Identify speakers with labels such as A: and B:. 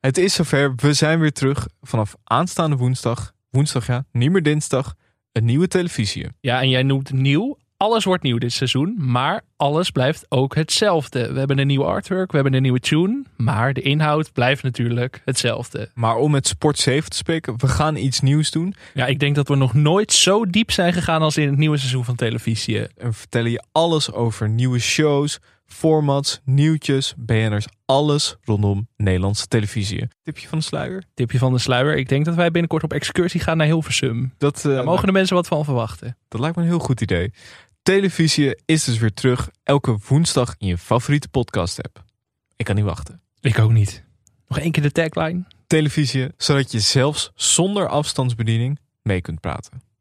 A: Het is zover, we zijn weer terug vanaf aanstaande woensdag. Woensdag ja, niet meer dinsdag. Een nieuwe televisie.
B: Ja, en jij noemt nieuw. Alles wordt nieuw dit seizoen, maar alles blijft ook hetzelfde. We hebben een nieuw artwork, we hebben een nieuwe tune, maar de inhoud blijft natuurlijk hetzelfde.
A: Maar om met Sport 7 te spreken, we gaan iets nieuws doen.
B: Ja, ik denk dat we nog nooit zo diep zijn gegaan als in het nieuwe seizoen van televisie. eh,
A: En we vertellen je alles over nieuwe shows, formats, nieuwtjes, BN'ers. Alles rondom Nederlandse televisie. Tipje van de sluier.
B: Tipje van de sluier, ik denk dat wij binnenkort op excursie gaan naar Hilversum.
A: Dat, eh,
B: Daar mogen de mensen wat van verwachten.
A: dat lijkt me een heel goed idee. Televisie is dus weer terug. Elke woensdag in je favoriete podcast app. Ik kan niet wachten.
B: Ik ook niet. Nog één keer de tagline.
A: Televisie, zodat je zelfs zonder afstandsbediening mee kunt praten.